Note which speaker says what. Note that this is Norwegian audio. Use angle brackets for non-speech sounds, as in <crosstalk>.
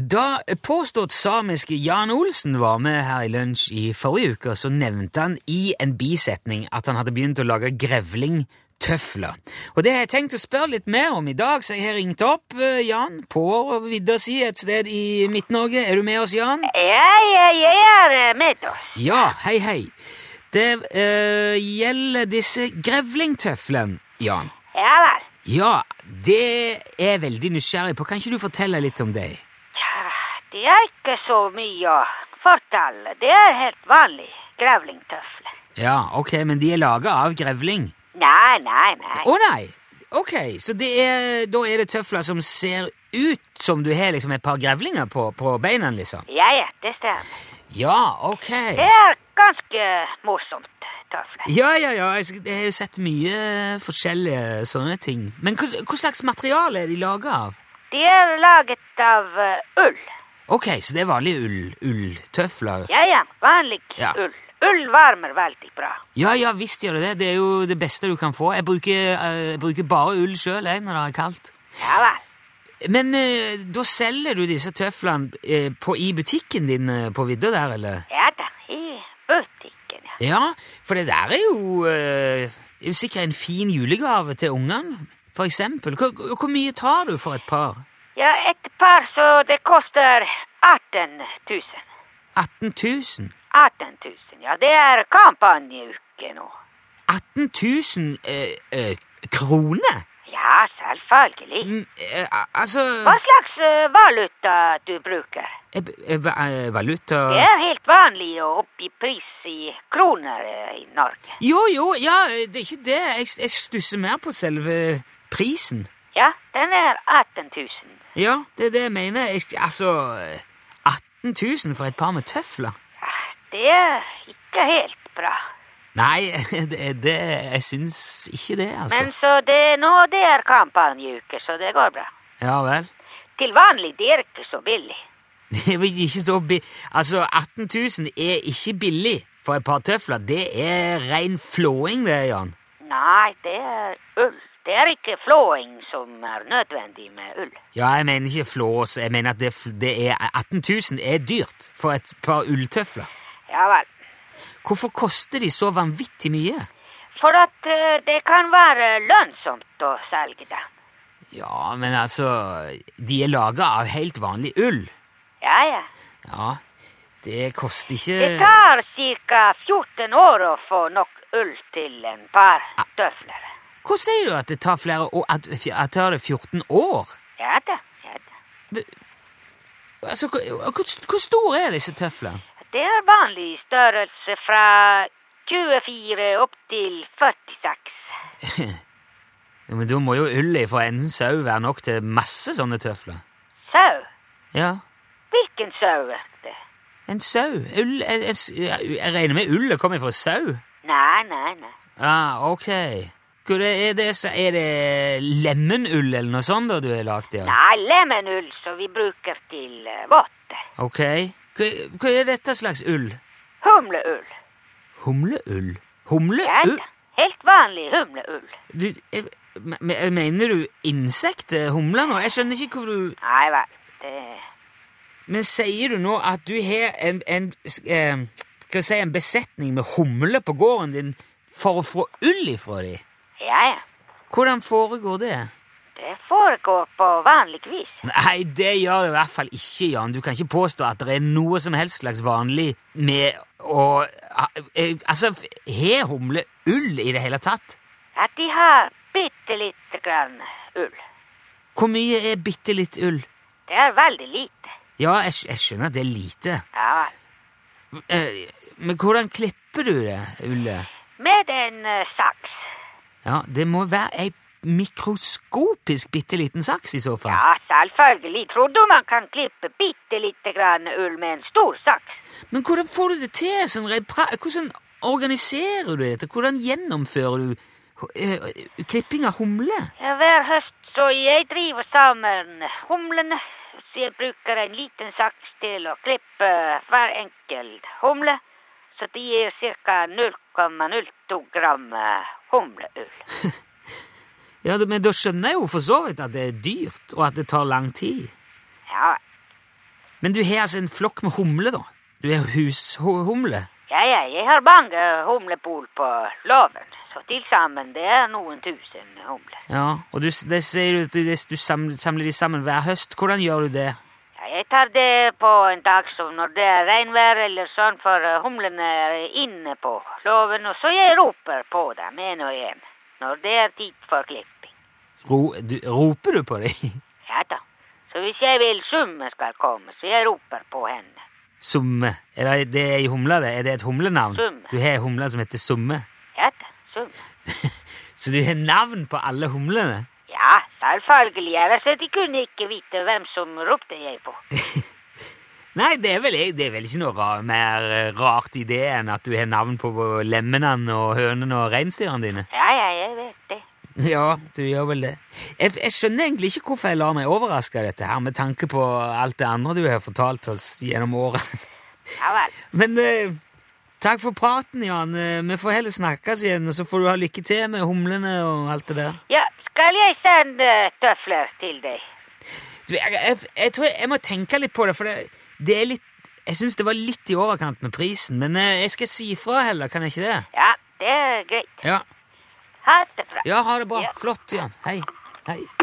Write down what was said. Speaker 1: Da påstått samiske Jan Olsen var med her i lunsj i forrige uke, så nevnte han i en bisetning at han hadde begynt å lage grevlingtøfler. Og det har jeg tenkt å spørre litt mer om i dag, så jeg har ringt opp eh, Jan på vidda si et sted i Midt-Norge. Er du med oss, Jan?
Speaker 2: Jeg, jeg, jeg er eh, med oss.
Speaker 1: Ja, hei, hei. Det eh, gjelder disse grevlingtøflene, Jan.
Speaker 2: Ja vel.
Speaker 1: Ja, det er jeg veldig nysgjerrig på. Kan ikke du fortelle litt om det?
Speaker 2: Tja, Det er ikke så mye å fortelle. Det er helt vanlig grevlingtøfler.
Speaker 1: Ja, ok, men de er laga av grevling.
Speaker 2: Nei, nei, nei.
Speaker 1: Å nei! Ok, så det er, da er det tøfler som ser ut som du har liksom et par grevlinger på, på beina, liksom?
Speaker 2: Ja, ja, det stemmer.
Speaker 1: Ja, ok.
Speaker 2: Det er ganske morsomt tøfler.
Speaker 1: Ja, ja, ja, jeg sk- jeg har jo sett mye forskjellige sånne ting. Men hva, hva slags materiale er de laga av?
Speaker 2: De er laget av eh, ull.
Speaker 1: Ok, så det er vanlige ull, ulltøfler?
Speaker 2: Ja, ja, vanlig
Speaker 1: Ja.
Speaker 2: ull. Ull varmer veldig bra.
Speaker 1: Ja, ja, visst gjør det det. Det er jo det beste du kan få. Jeg bruker, eh, jeg bruker bare ull sjøl når det er kaldt.
Speaker 2: Ja vel.
Speaker 1: Men eh, da selger du disse tøflene eh, på, i butikken din eh, på vidda der, eller?
Speaker 2: Ja da, i butikken, ja.
Speaker 1: Ja, for det der er jo, eh, er jo sikkert en fin julegave til ungene, for eksempel. Hvor, hvor hvor mye tar du for et par?
Speaker 2: Ja, et par så det koster 18 000.
Speaker 1: 18 000?
Speaker 2: 18 000, ja. Det er kampanjeuke nå.
Speaker 1: 18 000 eh, eh, kroner?
Speaker 2: Ja, selvfølgelig.
Speaker 1: Mm, eh, al- altså
Speaker 2: Hva slags eh, valuta du bruker?
Speaker 1: eh, b- eh, va- eh, Valuta
Speaker 2: Det er helt vanlig å oppgi pris i kroner eh, i Norge.
Speaker 1: Jo, jo, ja, det er ikke det. Jeg, jeg stusser mer på selve prisen.
Speaker 2: Ja, den er 18 000.
Speaker 1: Ja, det er det jeg mener. Jeg, altså 18 000 for et par med tøfler?
Speaker 2: Ja, det er ikke helt bra.
Speaker 1: Nei, <laughs> det, det, jeg syns ikke det, altså.
Speaker 2: Men så det nå det er kampanjeuke, så det går bra.
Speaker 1: Ja vel.
Speaker 2: Til vanlig det er ikke så billig.
Speaker 1: Det er vel ikke så bi altså, 18 000 er ikke billig for et par tøfler. Det er ren flåing, det, Jan.
Speaker 2: Nei, det er ull. Det er ikke flåing som er nødvendig med ull.
Speaker 1: Ja, jeg mener ikke flås. Jeg mener at det, f- det er 18 000 er dyrt for et par ulltøfler.
Speaker 2: Ja vel.
Speaker 1: Hvorfor koster de så vanvittig mye?
Speaker 2: For at eh, det kan være lønnsomt å selge dem.
Speaker 1: Ja, men altså De er laga av helt vanlig ull.
Speaker 2: Ja, ja.
Speaker 1: Ja, det koster
Speaker 2: Det
Speaker 1: ikke
Speaker 2: tar ca. 14 år å få nok ull til en par tøfler.
Speaker 1: Hvor sier du at det tar flere år? At, at det tar 14 år?
Speaker 2: Ja da, ja da.
Speaker 1: Altså, hvor, hvor- hvor store er disse tøflene?
Speaker 2: Det er vanlig størrelse fra 24 opp til 46.
Speaker 1: Jo, men da må jo ullet fra en sau være nok til masse sånne tøfler.
Speaker 2: Sau?
Speaker 1: Ja,
Speaker 2: Hvilken sau er det?
Speaker 1: en sau. Ull jeg, jeg, jeg regner med ullet kommer fra sau?
Speaker 2: Nei, nei, nei.
Speaker 1: Ja, Ah, ok. Hvor er er det, så- er det lemenull eller noe sånt da du har lagd det? av?
Speaker 2: Nei, lemenull som vi bruker til eh, våtte.
Speaker 1: Ok. Hva, hva er dette slags ull?
Speaker 2: Humleull.
Speaker 1: Humleull?
Speaker 2: Ja
Speaker 1: Humleull?
Speaker 2: da. Helt vanlig humleull.
Speaker 1: Du, jeg, me- me- mener du insekter, humler nå? Jeg skjønner ikke hvor du
Speaker 2: Nei vel, det
Speaker 1: Men sier du nå at du har en, en, s- eh, skal jeg si, en besetning med humler på gården din for å få ull ifra dem?
Speaker 2: Ja, ja.
Speaker 1: Hvordan foregår det?
Speaker 2: Det foregår på vanlig vis.
Speaker 1: Nei, det gjør det i hvert fall ikke, Jan. Du kan ikke påstå at det er noe som helst slags vanlig med å eh, Altså, har humler ull i det hele tatt?
Speaker 2: At de har bitte lite grann ull.
Speaker 1: Hvor mye er bitte litt ull?
Speaker 2: Det er veldig lite.
Speaker 1: Ja, jeg, skj- jeg skjønner at det er lite.
Speaker 2: Ja.
Speaker 1: Eh, Men hvordan klipper du det, ullet?
Speaker 2: Med en eh, saks.
Speaker 1: Ja, det må være ei mikroskopisk bitte liten saks i så fall.
Speaker 2: Ja, selvfølgelig. Tror du man kan klippe bitte lite grann ull med en stor saks?
Speaker 1: Men hvordan får du det til? Sånn, rent pra- hvordan organiserer du dette? Hvordan gjennomfører du eh, klipping av humle?
Speaker 2: Ja, Hver høst så jeg driver sammen humlene. Så jeg bruker en liten saks til å klippe hver enkelt humle. Så det gir ca. 0,02 gram eh, humleull.
Speaker 1: Ja, det- men da skjønner jeg jo for så vidt at det er dyrt, og at det tar lang tid.
Speaker 2: Ja,
Speaker 1: Men du har altså en flokk med humler, da? Du er hushumle?
Speaker 2: Ja, ja, jeg har mange humlepol på låven, så til sammen det er noen tusen humler.
Speaker 1: Ja, og du, s- det sier du, at du, du samler, samler de sammen hver høst. Hvordan gjør du det?
Speaker 2: Ja, jeg tar det på en dag som når det er regnvær eller sånn, for eh, humlene er inne på låven, og så jeg roper på dem en og en når det er tid for klipping.
Speaker 1: Ro, du, roper du på dem?
Speaker 2: Ja da. Så hvis jeg vil summe skal komme, så jeg roper på henne.
Speaker 1: Summe. Er det, det er i humla, det? Er det et humlenavn?
Speaker 2: Summe.
Speaker 1: Du har ei humle som heter Summe.
Speaker 2: Ja da, summe.
Speaker 1: Så du har navn på alle humlene?
Speaker 2: Ja, selvfølgelig, ellers at de kunne ikke vite hvem som ropte jeg på.
Speaker 1: Nei, det er vel, det er vel ikke noe ra mer eh, rart i det enn at du har navn på lemmene og hønene og reinsdyrene dine.
Speaker 2: Ja, ja, jeg vet det.
Speaker 1: <laughs> Ja, du gjør vel det. Jeg, jeg skjønner egentlig ikke hvorfor jeg lar meg overraske av dette her, med tanke på alt det andre du har fortalt oss gjennom året.
Speaker 2: Ja vel.
Speaker 1: <laughs> Men eh, takk for praten, Jan. Eh, Vi får heller snakkes igjen, og så får du ha lykke til med humlene og alt det der.
Speaker 2: Ja, skal jeg sende tøfler til deg?
Speaker 1: Du, jeg, jeg, jeg tror jeg, jeg må tenke litt på det, for det, det er litt Jeg syns det var litt i overkant med prisen, men eh, jeg skal si ifra heller, kan jeg ikke det?
Speaker 2: Ja, det er greit.
Speaker 1: Ja.
Speaker 2: Ha det bra.
Speaker 1: Ja, ha det bra.
Speaker 2: Ja.
Speaker 1: Flott, Jan. Hei. Hei.